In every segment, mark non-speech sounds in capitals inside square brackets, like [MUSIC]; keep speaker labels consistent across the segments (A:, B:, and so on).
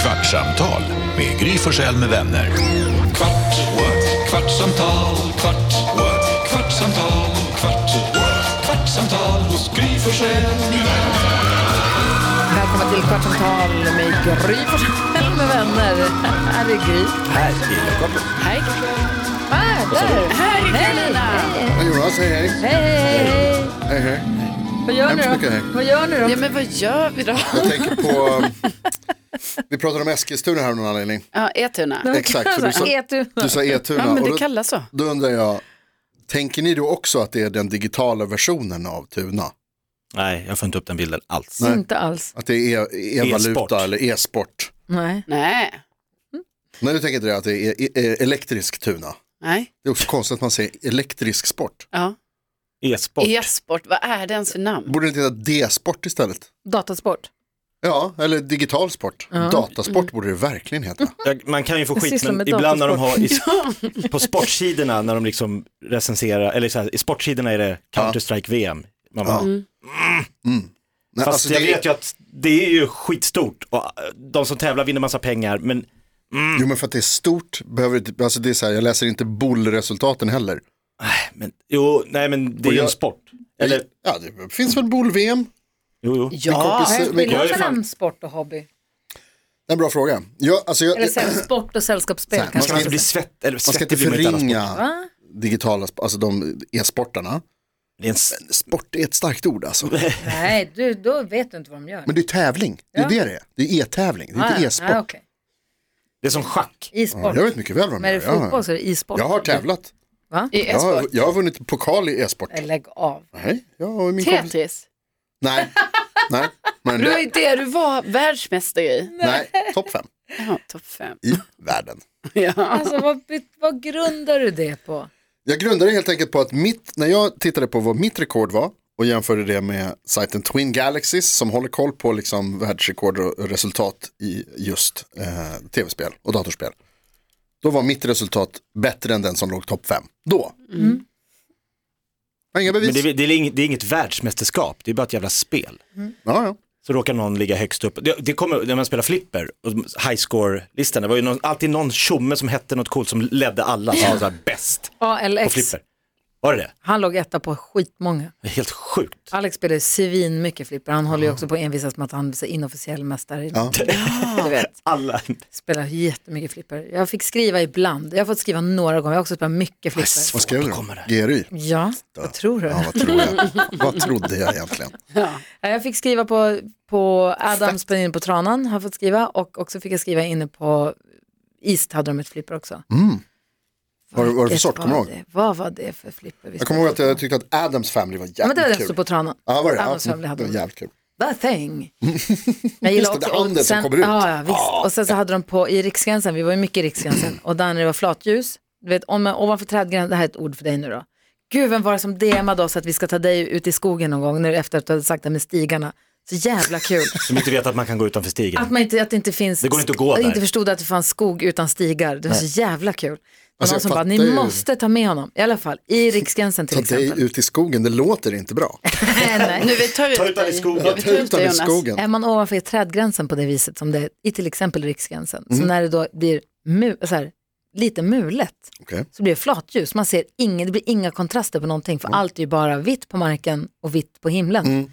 A: Kvartsamtal med Gry Forssell med vänner.
B: Kvart, what? kvartsamtal, kvart, what? kvartsamtal, kvart, what? kvartsamtal hos Gry Forssell med vänner.
C: Välkomna till Kvartsamtal med Gry Forssell med vänner. Här är Gry.
D: Här är Jakob.
C: Hej. Ah, där. Här är Carolina.
D: Jonas, Alltså, hej hej.
C: Hej, hej, hej.
D: hej, hej.
C: Vad gör ni
D: Hemskt mycket hej.
C: då? Vad gör ni då?
E: Ja, men vad gör vi då?
D: Jag tänker på, um, vi pratade om Eskilstuna här av någon anledning.
E: Ja, Etuna.
D: Exakt, för du sa,
C: Etuna.
D: du sa Etuna.
E: Ja, men
D: och
E: det
D: då,
E: kallas så.
D: då undrar jag, tänker ni då också att det är den digitala versionen av Tuna?
F: Nej, jag får inte upp den bilden alls.
D: Nej.
C: Inte alls.
D: Att det är e-
F: E-sport.
D: e-valuta eller e-sport?
C: Nej.
E: Nej,
D: Nej, du tänker inte det, att det är e- e- elektrisk Tuna?
E: nej,
D: Det är också konstigt att man säger elektrisk sport.
E: ja.
F: E-sport.
E: E-sport, vad är det ens för namn?
D: Borde det inte heta D-sport istället?
C: Datasport.
D: Ja, eller digital sport. Datasport borde det verkligen heta.
E: Mm.
F: Jag, man kan ju få
C: Jag
F: skit,
C: sysslar
F: men
C: med
F: ibland när de har i,
C: datorsport.
F: på sportsidorna, när de liksom recenserar, eller så här, i sportsidorna är det Counter-Strike VM. Man bara,
D: Ja. Mm. Nej,
F: Fast
D: alltså,
F: jag
D: det-
F: vet ju att det är ju skitstort och äh, de som tävlar vinner massa pengar, men
D: Jo men för att det är stort, behöver det, alltså det är så här, jag läser inte bollresultaten heller.
F: Men, jo, nej men det är ju
D: jag-
F: en sport. Eller,
D: Ja, det finns väl boll-VM?
F: jo, jo.
D: Ja,
C: Vad är
D: men,
F: jag
C: skillnaden
F: är fan-
C: mellan sport och hobby?
D: en bra fråga. Jag, alltså, jag,
C: Eller sen sport och sällskapsspel
D: Så här, man
F: Man
C: kanske
F: ska
C: man
F: inte
C: ska
F: bli
C: säga.
F: svett, eller
D: man ska inte
F: svettig blir man inte annars.
D: förringa
C: Va?
D: digitala, sp- alltså de e-sportarna.
F: Det är en s-
D: Sport är ett starkt ord alltså.
C: Nej, du, då vet du inte vad de gör.
D: Men det är tävling, det är
C: Ja.
D: det det är. Det är e-tävling, det är
C: Ah,
D: inte
C: ja.
D: e-sport.
C: Ah, okej.
F: Det är som schack.
C: E-sport.
D: Ja, jag vet mycket väl vad de
C: Men är det
D: gör.
C: fotboll
D: Jag,
C: så är det e-sport.
D: jag har tävlat,
C: Va?
E: I
D: jag har,
E: e-sport?
D: jag har vunnit pokal i e-sport.
C: Nej, Lägg av.
D: Nej, jag och min kompis.
E: Tetris?
D: Nej, nej, men
E: Det var ju det du var världsmästare i.
D: nej, topp fem
E: Ja, topp fem.
D: i världen.
E: Ja.
C: Alltså vad, vad grundar du det på?
D: Jag grundade helt enkelt på att mitt, när jag tittade på vad mitt rekord var och jämförde det med sajten Twin Galaxies som håller koll på liksom världsrekord och resultat i just eh, tv-spel och datorspel. Då var mitt resultat bättre än den som låg topp 5. Då. Jag har Inga bevis.
F: Mm. Men det, är- det, är inget, det är inget världsmästerskap, det är bara ett jävla spel.
D: Ja, ja.
F: så råkar någon ligga högst upp. Det, det kommer när man spelar flipper, och highscore-listan, det var ju någon, alltid någon tjomme som hette något coolt som ledde alla, som var så här bäst på
C: ALX.
F: flipper. Var det det?
C: Han låg etta på skitmånga.
F: det? är Helt sjukt.
C: Alex spelade svin mycket flipper. Han håller ju också på att envisas med att han är inofficiell mästare. Ja. Du vet,
F: Alla,
C: spelar jättemycket flipper. Jag fick skriva ibland. Jag har fått skriva några gånger. Jag har också spelat mycket flipper.
D: Vad skrev
F: Då
D: du?
F: kommer det.
D: GRY?
C: Ja, vad tror du?
D: Ja, vad, tror jag? [LAUGHS] vad trodde jag egentligen?
C: Ja, Jag fick skriva på, på Adam spelade in på Tranan, har jag fått skriva. Och också fick jag skriva inne på East hade de ett flipper också.
D: Vad Mm. var det för
C: Vilket
D: sort? Kommer du
C: var
D: ihåg?
C: det? Vad var det för flipper? vi
D: Jag kommer ihåg att
C: spelade
D: jag tyckte att Adams Family var
C: Ja, men det var det
D: jävligt kul.
C: som på Tranan.
D: Ja, var det? Ja,
C: Adams Family hade
D: det var
C: de.
D: jävligt kul.
C: The
D: [LAUGHS]
C: thing. Jag gillar
D: Just
C: också.
D: det, det är handen
C: och
D: som kommer ut.
C: Ja, ja, visst. Och sen så hade de på, i Riksgränsen, vi var ju mycket i
D: [CLEARS THROAT]
C: Riksgränsen, och där när det var flatljus, du vet, om, ovanför trädgränsen, det här är ett ord för dig nu då. Gud, vem var det som DMade oss att vi ska ta dig ut i skogen någon gång, när du efter att du hade sagt det med stigarna. Så jävla
D: [LAUGHS]
C: kul.
F: som inte vet att man kan gå utanför stigen.
C: Att, man inte, att det inte finns,
F: Det går inte att gå där.
C: inte förstod att det fanns skog utan stigar. Det var så jävla kul. Det var
D: Alltså,
C: någon
D: jag
C: som bara, ni
D: fattar ju-
C: måste ta med honom, i alla fall, i Riksgränsen till
D: Ta dig
C: exempel.
D: ut i skogen, det låter inte bra.
C: [LAUGHS] Nej, nej.
E: Nu, vi tar ut
F: Ta ut den i
E: dig.
F: skogen.
E: Ja, vi tar ut
D: Utan
E: dig,
D: i
E: Jonas.
D: skogen.
C: Är man ovanför trädgränsen på det viset som det är i till exempel Riksgränsen,
D: Mm.
C: så när det då blir mu, så här, lite mulet
D: Okej.
C: så blir det flatljus. Man ser ingen, det blir inga kontraster på någonting
D: Mm.
C: för allt är ju bara vitt på marken och vitt på himlen.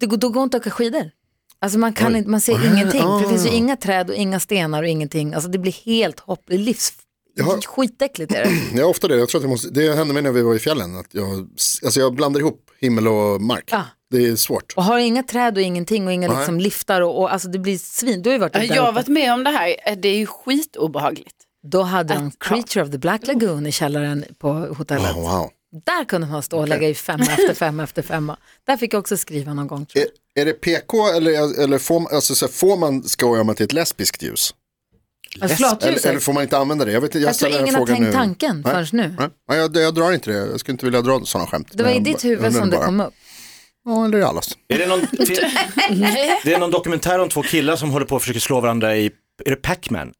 C: Det, går- då går inte att åka skidor. Alltså man, kan inte, man ser ingenting, för det
D: Ah.
C: finns ju inga träd och inga stenar och ingenting. Alltså det blir helt hopp, det är livs...
D: har-
C: Skitäckligt är det.
D: Jag har ofta det, jag tror att jag måste, det hände mig när vi var i fjällen, att jag, alltså jag blandar ihop himmel och mark.
C: Ja.
D: Det är svårt.
C: Och har inga träd och ingenting och inga
D: Nej.
C: liksom liftar och, och alltså det blir svin. Du har ju varit
E: Ja,
C: där
E: Jag har
C: uppe.
E: varit med om det här, Eh, det är ju skitobehagligt.
C: Då hade de
E: Att-
C: Creature of the Black Lagoon i källaren på hotellet.
D: Oh, wow.
C: Där kunde man stå och lägga i femma efter femma efter femma. Där fick jag också skriva någon gång. Tror jag.
D: är, är det PK eller, eller får, man- alltså, så här, får man skoja om att det är ett lesbiskt ljus?
C: Alltså,
D: Eller,
C: flatljuset.
D: eller får man inte använda det? Jag, vet, inte, jag,
C: Jag tror
D: ställer en
C: ingen har
D: fråga
C: tänkt
D: nu.
C: tanken
D: Nej.
C: förrän nu.
D: Nej, Nej, jag, jag drar inte det, jag skulle inte vilja dra sådana skämt.
C: Det var i
D: Men
C: ditt
D: jag
C: huvud
D: undrar
C: som det
D: bara.
C: kom upp.
D: Ja, eller i allas.
F: Är det, någon,
C: [LAUGHS]
F: det är någon dokumentär om två killar som håller på och försöker slå varandra i, är det Pac-Man?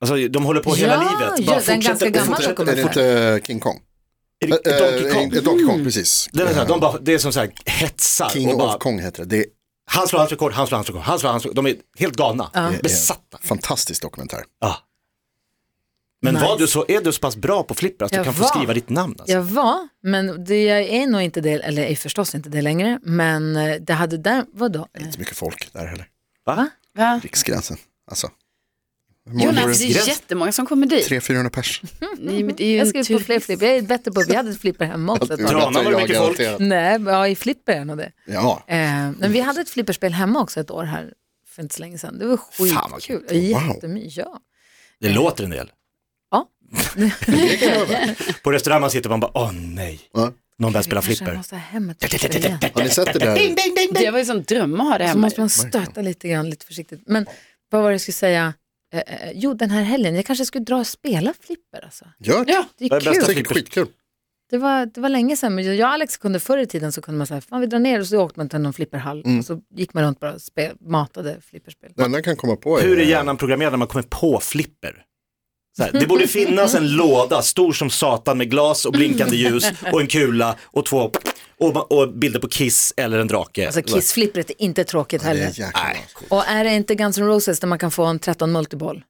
F: Alltså de håller på hela
C: Ja,
F: livet.
C: ja, den
F: fortsätter-
C: ganska gamla
F: fortsätter-
D: Är det
C: dokumentären.
D: inte eh, King Kong?
F: Är det
D: Eh,
F: Donkey Kong?
D: eh, Donkey Kong, precis.
F: Den är så här, de bara, det är som så här hetsar
D: King
F: och bara,
D: of Kong heter det. Det är
F: Han slår hans rekord, han slår hans rekord, han slår hans rekord. De är helt galna, besatta.
D: Fantastisk dokumentär.
F: Ja. Men
C: Nice.
F: var du så, är du så pass bra på flipper att du
C: Jag
F: kan få
C: var.
F: skriva ditt namn? Alltså?
C: Jag var, men det, jag är nog inte det, eller är förstås inte det längre, men eh, det hade där, vadå?
D: Det är inte så mycket folk där heller.
F: Va?
E: Va?
D: Riksgränsen. Alltså. Hur många
E: Jonas,
D: vore
E: det
D: det?
E: är ju jättemånga som kommer dit.
D: 300-400 pers.
E: Nej, men det är ju
C: Jag
E: en
C: skrev
E: tur-
C: på fler flipper, jag är bättre på, vi hade ett flipper hemma också. ett tag.
F: Tranan var det
D: Jag
F: mycket folk.
D: garanterat.
C: Nej, men ja, i flipper är nog det.
D: Ja,
C: Eh, men vi hade ett flipperspel hemma också ett år här för inte så länge sedan. Det var
F: Fan, vad
C: skitkul. Jättemycket, ja.
F: Det låter en del.
C: Ja.
F: På restaurang man sitter man bara, åh nej,
D: Ja.
F: någon börjar spela
C: Kanske jag
F: flipper.
C: måste ha hem ett flipperspel igen.
D: Har ni sett det där?
E: Det var ju som dröm att ha det
C: Så
E: hemma.
C: måste man stöta lite grann, lite försiktigt. Men vad var det jag skulle säga? Eh, eh, jo, den här helgen, jag kanske skulle dra och spela flipper alltså.
D: Gör det.
E: Ja.
C: Det
F: Vad
C: är
F: är bästa
C: kul.
D: Säkert skitkul.
C: Det var, det var länge sedan, men jag och Alex kunde förr i tiden så kunde man säga, fan vi drar ner och så åkte man till någon flipperhall
F: Mm.
C: och så gick man runt bara och spe, matade flipperspel.
D: Det enda jag kan komma på är...
F: Hur är hjärnan programmerad när man kommer på flipper? Så här, det borde finnas en låda, stor som satan med glas och blinkande ljus och en kula och två och, och bilder på Kiss eller en drake.
C: Alltså Kiss-flippret är inte tråkigt
D: Det är
C: heller.
D: jäkla
F: Nej.
C: Och är det inte Guns N' Roses där man kan få en 13 multiboll?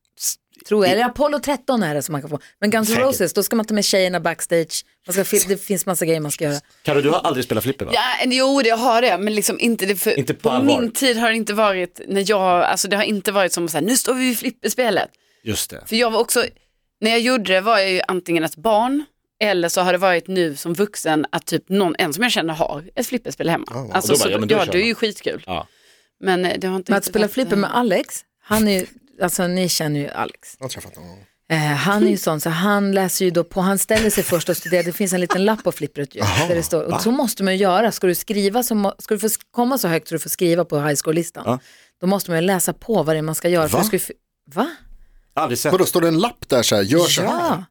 C: Tror jag, eller Apollo 13 är det som man kan få. Men Guns N'
F: Säkert.
C: Roses, då ska man ta med tjejerna backstage, man ska, fil- det finns massa grejer man ska göra.
F: Carro, du har aldrig spelat flipper va?
E: Ja, jo, det har det, men liksom inte det för,
F: Inte på
E: på
F: allvar.
E: min tid har det inte varit när jag, alltså det har inte varit som så här, nu står vi vid flipperspelet.
F: Just det.
E: För jag var också, när jag gjorde det var jag ju antingen ett barn eller så har det varit nu som vuxen att typ någon, en som jag känner har ett flipperspel hemma. alltså,
F: Och då
E: så,
F: bara, ja,
E: ja,
F: men då kör
E: det är
F: man.
E: ju skitkul.
F: Ja.
E: Men eh, det har inte
C: Men att
E: riktigt
C: spela
E: varit,
C: flipper
E: eh,
C: med Alex, han är ju, alltså ni känner ju Alex.
D: Jag har träffat honom.
C: Eh, han är ju sån, så han läser ju då på, han ställer sig först och studerar, det finns en liten lapp på flippret ju, där det står, och så måste man ju göra, ska du skriva, så må, ska du få sk- komma så högt så du får skriva på high school-listan,
F: Ja.
C: då måste man ju läsa på vad det är man ska göra. För
D: Va?
C: du ska ju, fi- va?
F: Aldrig sett.
D: Vadå, står det en lapp där så här, gör så här?
C: Ja.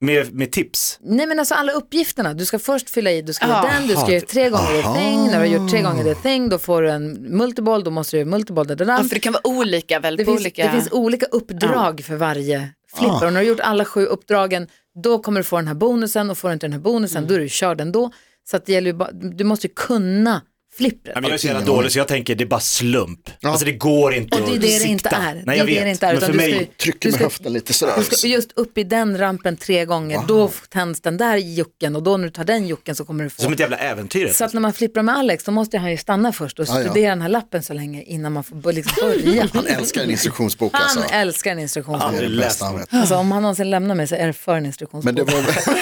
F: Med, med tips.
C: Nej men alltså alla uppgifterna, du ska först fylla i, du ska göra
E: Aha.
C: den, du ska göra tre gånger det thing, när du har gjort tre gånger det thing, då får du en multiboll, då måste du göra multiboll, da, da, da.
E: Ja, för det kan vara olika väl,
C: Det
E: på
C: finns,
E: olika.
C: det finns olika uppdrag för varje flipper.
F: Ah.
C: Och när du har gjort alla sju uppdragen, då kommer du få den här bonusen och får du inte den här bonusen, då är du körd ändå. Så att det gäller ju bara, du måste ju kunna flippret.
F: Nej, men jag är så jävla dålig så jag tänker det är bara slump. Alltså det går inte
C: Och det är
F: att
C: det det
F: sikta.
C: inte är.
F: Nej jag
C: det är det
F: vet.
C: det inte är,
F: men
C: utan
F: för
C: du
F: mig,
C: ska ju-
D: Trycker med
C: Du ska-
D: höften lite sådär.
C: Du ska just upp i den rampen tre gånger, då tänds den där jucken och då när du tar den jucken så kommer du få
F: som ett jävla äventyr.
C: Så att när man flippar med Alex då måste han ju stanna först och
D: Ja, ja.
C: studera den här lappen så länge innan man får bör- liksom börja.
D: [LAUGHS] Han älskar en instruktionsbok alltså.
C: Han älskar en instruktionsbok.
D: Det är det
F: Läs
D: bästa han vet.
C: Alltså om han någonsin lämnar mig så är det för en instruktionsbok.
D: Men det var...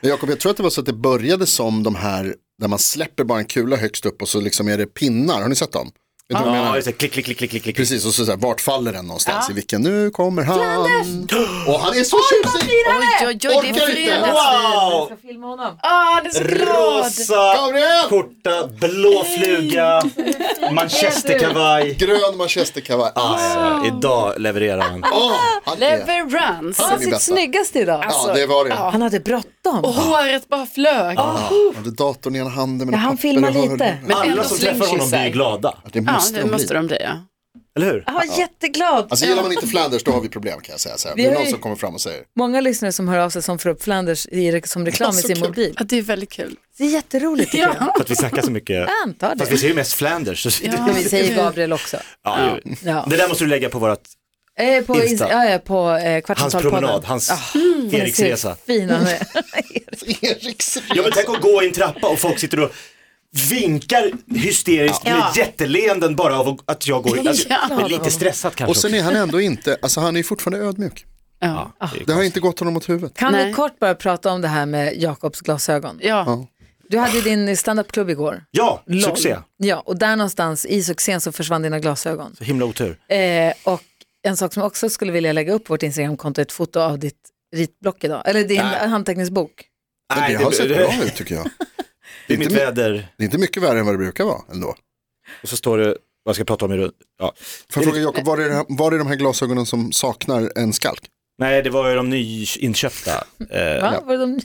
D: Men Jakob, jag tror att det var så att det började som de här där man släpper bara en kula högst upp och så liksom är det pinnar. Har ni sett dem? Vet du vad jag menar?
F: Ja, just det. Klick, klick, klick, klick, klick, klick.
D: Precis, och så, så här, vart faller den någonstans? I vilken? Nu kommer han. [GASPS] Och han är så tjusig!
E: Oj, oj, oj, det
D: Orkar
E: är
D: inte.
E: fredag.
C: Jag
F: Wow!
C: ska filma honom.
E: Ah, det är så glad.
F: Rosa,
D: Gabriel!
F: korta, blå fluga, manchesterkavaj.
D: Grön manchesterkavaj.
F: Alltså, idag levererar han.
D: Åh, han är...
E: Leverance.
C: Han var
D: min
C: sitt
D: bästa.
C: snyggaste idag.
D: Ja, det var det.
C: Han hade bråttom.
E: Och håret bara flög.
F: Ah.
D: Han hade datorn i ena handen.
C: Ja,
D: Med
C: han
D: papper
C: filmar
D: och hörlurar.
C: lite.
E: Men
F: Alla
E: ändå
F: som träffar honom
E: slängkyssar.
F: blir glada.
D: Det
E: Ja,
D: måste
E: det
D: de
E: måste
D: bli.
E: de bli. Ja.
F: Eller hur?
C: Han var jätteglad.
D: Alltså gillar man inte Flanders då har vi problem kan jag säga. Så här.
C: Vi
D: Det är
C: har
D: någon
C: ju-
D: som kommer fram och säger.
C: Många lyssnare som hör av sig som får upp Flanders i, re- som reklam i
D: så
C: sin
D: kul.
C: mobil.
E: Ja, det är väldigt kul.
C: Det är jätteroligt tycker jag.
F: För att vi snackar så mycket.
C: Jag antar
F: Fast vi
C: det.
F: ser ju mest Flanders. så-
E: Ja.
C: Men vi säger Gabriel också.
F: Ja.
C: Ja.
F: Det där måste du lägga på vårt,
C: Eh, på
F: Insta.
C: Insta. Ja, ja, på Ah, eh,
F: hans
C: Kvartsamtalpodden.
F: promenad, hans Eriksresa.
C: Fin han är.
D: [LAUGHS] Eriks
F: Ja men tänk att gå i en trappa och folk sitter och vinkar hysteriskt med
E: Ja.
F: jätteleenden bara av att jag går in. Alltså,
E: Ja.
F: jag är lite stressad kanske.
D: Och sen är han ändå inte, alltså han är ju fortfarande ödmjuk.
E: Ja.
D: Det har inte gått honom åt huvudet.
C: Kan vi
E: Nej.
C: kort bara prata om det här med Jakobs glasögon?
E: Ja.
C: Du hade ju din standupklubb igår.
F: Ja, succé.
C: Ja, och där någonstans i succén så försvann dina glasögon.
F: Så himla otur.
C: Eh, och en sak som jag också skulle vilja lägga upp på vårt Instagramkonto är ett foto av ditt ritblock idag, eller din
F: Nej.
C: anteckningsbok.
D: Men det har sett bra ut tycker jag.
F: det är mitt
D: Inte-
F: väder.
D: Det är inte mycket värre än vad det brukar vara ändå.
F: Och så står det vad jag ska prata om i rund. Ja.
D: Får jag fråga Jakob, var är, det här, var är de här glasögonen som saknar en skalk?
F: Nej, det var ju de nyinköpta. Eh,
C: Va? Var de...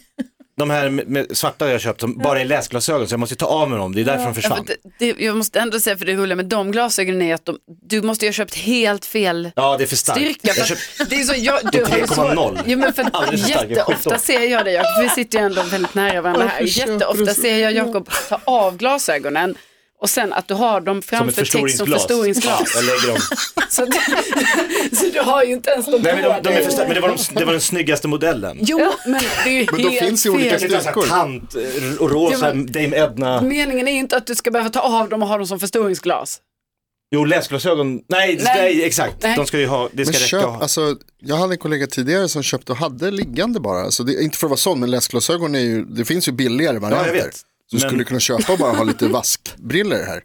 F: de här med, med svarta jag köpt som bara är läsglasögon så jag måste ta av mig dem. Det är därför de
E: Ja,
F: försvann.
E: men det, det, jag måste ändå säga för det roliga med de glasögonen är att de, du måste ju ha köpt helt fel
F: Ja, det är för starkt.
E: styrka. För
F: Jag
E: att
F: köpt,
E: det är så, jag, du har ju så,
F: 3,0.
E: jo, men för
F: [LAUGHS] Alldeles
E: att
F: för stark, jag är
E: jätteofta
F: skitdålig.
E: ser jag dig, Jakob, för vi sitter ju ändå väldigt nära varandra här.
D: Varför köper du
E: Jätteofta
D: så?
E: ser jag Jakob ta av glasögonen Och sen att du har dem
F: Som ett
E: framför text som
F: förstoringsglas.
E: förstoringsglas.
F: Ja, jag lägger dem.
E: så, att, [LAUGHS] så du har ju inte ens dem
F: Nej, men, de,
E: på
F: de är
E: dig.
F: för stora, men det, var de, det var den snyggaste modellen.
E: Jo, men det är ju
D: Men de
E: helt
D: finns i olika
E: fel.
F: Det är så här tant eh, och rosa,
E: Ja, men-
F: Dame Edna.
E: Meningen är ju inte att du ska behöva ta av dem och ha dem som förstoringsglas.
F: Jo, läsglasögon. Nej,
E: Nej.
F: nej. exakt.
E: Nej.
F: De ska ju ha, det ska
D: Men
F: räcka
D: köp,
F: att ha.
D: alltså, jag hade en kollega tidigare som köpte och hade liggande bara. Alltså, det, inte för att vara sån, men läsglasögon är ju, det finns ju billigare varianter.
F: vet.
D: Så du
F: Men-
D: skulle kunna köpa och bara ha lite vaskbriller här.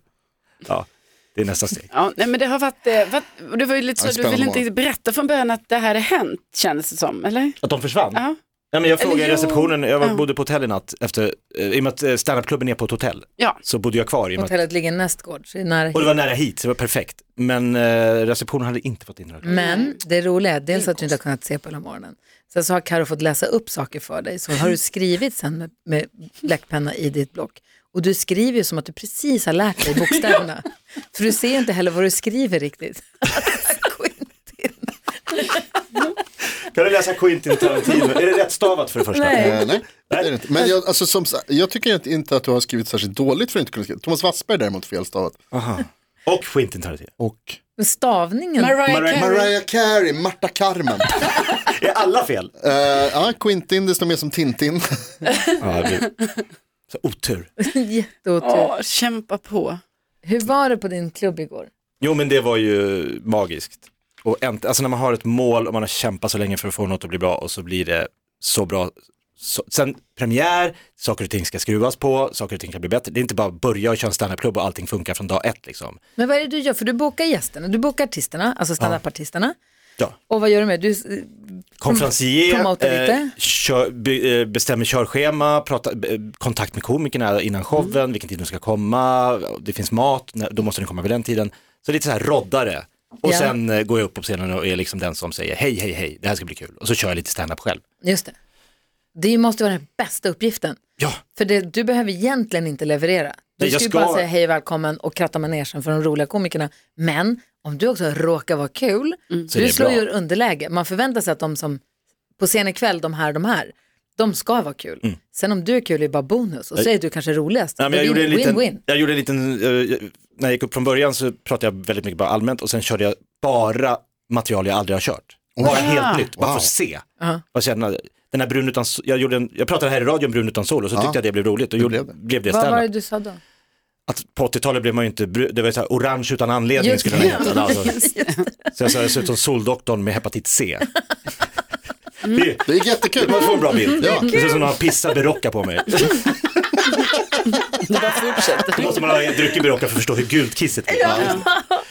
F: Ja, det är nästa steg.
E: Ja, nej, men det har varit, eh, varit och det var ju lite
D: Ja,
E: så, du
D: spännande
E: ville inte
D: morgon.
E: riktigt berätta från början att det här har hänt, kändes det som, eller?
F: Att de försvann?
E: Ja.
F: Ja, men jag frågade i
E: Eller jo.
F: receptionen, jag
E: Ja.
F: var, bodde på hotell i natt, efter, eh, i och med att eh, standupklubben är på ett hotell,
E: Ja.
F: så bodde jag kvar. I och, med att,
C: Hotellet ligger nästgård, så det är nära
F: och
C: hit.
F: det var nära hit, så det var perfekt. Men eh, receptionen hade inte fått in
E: Mm.
F: några
C: Men Mm. det roliga är dels att du inte har kunnat se på hela morgonen. Sen så har Karo fått läsa upp saker för dig. Så har du skrivit sen med, med bläckpenna i ditt block. Och du skriver ju som att du precis har lärt dig [LAUGHS] bokstäverna. För du ser ju inte heller vad du skriver [LAUGHS] riktigt. Quentin.
F: Kan du läsa Quentin Tarantino? är det rätt stavat för det första?
C: Nej.
D: Eh, nej, det är det inte. Men jag, alltså, som, sa- jag tycker inte- inte att du har skrivit särskilt dåligt för att inte kunna skriva. Thomas Wassberg däremot felstavat.
F: Och Quentin Tarantino.
D: Och
C: Men stavningen.
E: Mariah Carey.
D: Mariah Carey, Marta Carmen.
F: Är alla
E: [LAUGHS]
F: fel?
D: Eh, Ja, Quintin, det står mer som Tintin.
F: Ja, det... så otur.
C: [LAUGHS] Jätteotur.
E: Åh, kämpa på.
C: Hur var det på din klubb igår?
F: Jo men det var ju magiskt. Och änt- alltså när man har ett mål och man har kämpat så länge för att få något att bli bra och så blir det så bra. Så, sen premiär, saker och ting ska skruvas på, saker och ting kan bli bättre. Det är inte bara att börja och köra en standupklubb och allting funkar från dag ett liksom.
C: Men vad är det du gör? För du bokar gästerna, du bokar artisterna, alltså standup-artisterna.
F: Ja.
C: Och vad gör du eh, med? Du,
F: Konferencier,
C: Promota lite.
F: kör, be, eh, bestämmer körschema, prata, eh, kontakt med komikerna
C: Mm.
F: innan showen, vilken tid de ska komma, det finns mat, när- då måste den komma vid den tiden. Så lite så här roddare. Och
C: Ja.
F: sen eh, går jag upp på scenen och är liksom den som säger hej, hej, hej, det här ska bli kul. Och så kör jag lite stand-up själv.
C: just det. Det måste vara den bästa uppgiften.
F: Ja,
C: För det, du behöver egentligen inte leverera. Du
F: Nej, jag
C: ska ju
F: ska-
C: bara säga hej och välkommen och kratta manegen för de roliga komikerna. Men om du också råkar vara kul,
F: är
C: du
F: Mm. det
C: slår
F: bra.
C: ju ur underläge. Man förväntar sig att de som på scen ikväll, de här, de här, de ska vara kul. Sen om du är kul är bara bonus och så är du kanske roligast.
F: Mm. Nej, men
C: Det
F: jag,
C: är
F: gjorde en liten,
C: Win-win.
F: jag gjorde en liten, eh, när jag gick upp från början så pratade jag väldigt mycket bara allmänt och sen körde jag bara material jag aldrig har kört. Bara helt nytt, bara för
D: Wow.
F: att se. Bara känna, den här brun utan, s- jag, gjorde en, jag pratade här i radion brun utan sol och så tyckte jag det blev roligt och gjorde,
D: blev det.
F: blev det
C: Vad var det
F: standup.
C: du sa
F: [LAUGHS]
C: då?
F: Att på 80-talet blev man ju inte, bru- det var ju så här, orange utan anledning
C: Just
F: skulle
C: det.
F: den heta. Alltså. Så jag sa dessutom soldoktorn med hepatit C. Det är-
D: Det är jättekul.
F: Man får en bra bild.
D: Ja.
F: Det ser ut som någon har pissat berocka på mig.
E: Du bara fortsätter.
F: Då måste man ha druckit berocka för att förstå hur gult kisset blir.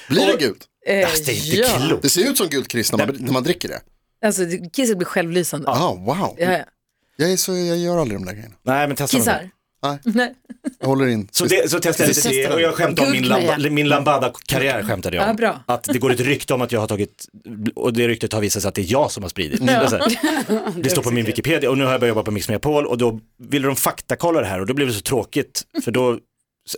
D: Blir det gult?
F: Alltså, det är inte
C: Eh, Ja.
F: klokt.
D: Det ser ut som gult kris när man, när man dricker det.
C: Alltså det- kisset blir självlysande.
D: Ah, wow,
C: Ja, ja.
D: jag, är så, jag gör aldrig de där grejerna.
F: Nej men testa någon
C: Kissar?
F: gång.
D: Nej.
C: Nej.
D: Jag håller in.
F: så, det, så testade jag lite det och jag skämtade om min,
E: Guldkaja.
F: lamba, min Lambada-karriär skämtade jag
C: Ja,
F: om.
C: bra.
F: Att det går ett rykte om att jag har tagit, och det ryktet har visat sig att det är jag som har spridit. Det,
C: [LAUGHS]
F: är så här. det står på min Wikipedia och nu har jag börjat jobba på Mix Megapol och då ville de faktakolla det här och då blev det så tråkigt för då s-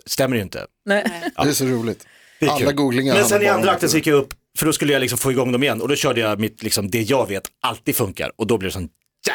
F: stämmer det ju inte.
C: Nej.
D: Det är så roligt.
F: Det är
D: Alla
F: kul.
D: googlingar
F: Men
D: handlar
F: sen i
D: bara om
F: andra
D: det.
F: akten så gick jag upp, för då skulle jag liksom få igång dem igen och då körde jag mitt, liksom, det jag vet alltid funkar och då blev det sån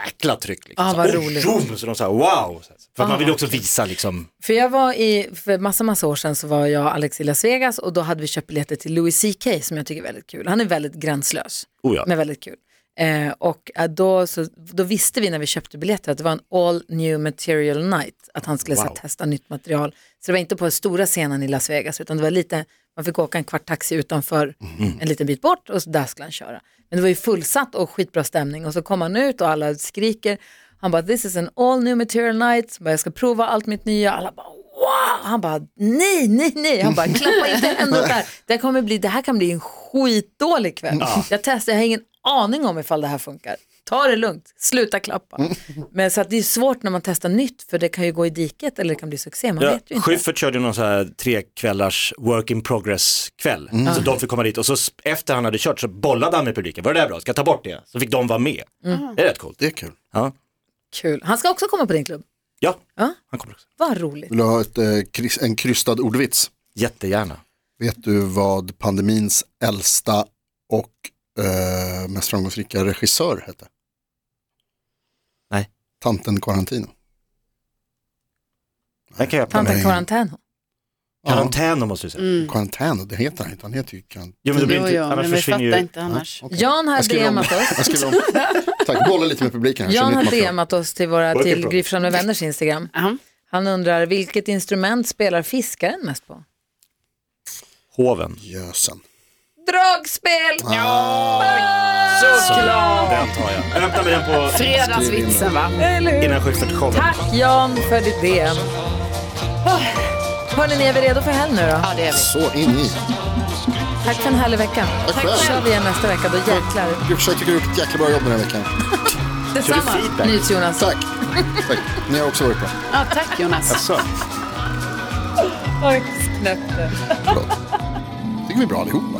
F: jäkla tryck. Liksom.
C: Ah,
F: Så,
C: vad
F: oh,
C: roligt. Ah,
F: tjom! Så de sa wow! För att man vill ju också visa liksom,
C: För jag var i, för massa, massa år sedan så var jag och Alex i Las Vegas och då hade vi köpt biljetter till Louis CK som jag tycker är väldigt kul. Han är väldigt gränslös,
F: oh ja.
C: men väldigt kul. Eh, och eh, då, så, då visste vi när vi köpte biljetter att det var en all new material night, att han skulle så här
F: Wow.
C: testa nytt material. Så det var inte på den stora scenen i Las Vegas utan det var lite, man fick åka en kvart taxi utanför en liten bit bort och så där skulle han köra. Men det var ju fullsatt och skitbra stämning och så kom han ut och alla skriker. Han bara, this is an all new material night, Så bara, jag ska prova allt mitt nya. Alla bara, wow! Han bara, nej, nej, nej. Han bara, klappa inte händerna
D: [LAUGHS]
C: där. Det här, kommer bli, det här kan bli en skitdålig kväll. Jag testar, jag har ingen aning om ifall det här funkar. Ta det lugnt, sluta klappa.
D: [LAUGHS]
C: Men så att det är svårt när man testar nytt för det kan ju gå i diket eller det kan bli succé, man
F: Ja,
C: vet ju inte.
F: Schyffert körde någon så här tre kvällars work in progress kväll. Så de fick komma dit och så s- efter han hade kört så bollade han med publiken. Var det där bra? Ska jag ta bort det? Så fick de vara med. Det är rätt coolt.
D: Det är kul.
F: Ja,
C: Kul. Han ska också komma på din klubb.
F: ja.
C: Ja.
F: han kommer också.
C: Vad roligt.
D: Vill du ha ett, eh, krys- en krystad ordvits?
F: Jättegärna.
D: Vet du vad pandemins äldsta och eh, mest framgångsrika regissör hette?
F: Nej.
D: Tanten Quarantino.
F: Den kan jag öppna.
C: Tanten
D: Nej.
C: Quarantano.
F: Karantän då måste du säga.
D: Mm. Karantän, det heter han inte. Han heter ju karantän.
F: Jo, men det blir
E: Jo,
F: inte,
E: jo,
F: annars
E: men vi
F: försvinner ju.
E: fattar inte annars.
D: Okej.
C: Jan har
D: Jag skriver om-
C: DMat oss.
D: Jag skriver om. Tack, bolla lite med publiken här. så
C: Jan
D: nytt
C: har
D: material.
C: DMat oss till, våra,
F: Work in
C: till
F: progress.
C: Gryfsson med vänners Instagram.
E: Jaha.
C: Han undrar vilket instrument spelar fiskaren mest på?
F: Hoven.
D: Jösen.
C: Dragspel!
F: Den tar jag. Öppna med den på
E: Fredagsvitsen va?
F: innan 7.47.
C: Tack Jan för ditt DM. Oh. Hörni, är vi redo för helg nu då?
E: Ja det är vi.
D: Så in i.
C: Tack för en härlig vecka.
D: Tack
C: Så kör
D: själv.
C: vi igen nästa vecka, då jäklar.
D: Gud, Jag tycker du har gjort ett jäkla bra jobb den här veckan.
C: Detsamma,
F: feedback?
C: NyhetsJonas.
D: Tack. Tack. Ni har också varit bra.
E: Ja, tack Jonas.
F: Så.
D: Förlåt. tycker vi är bra allihopa.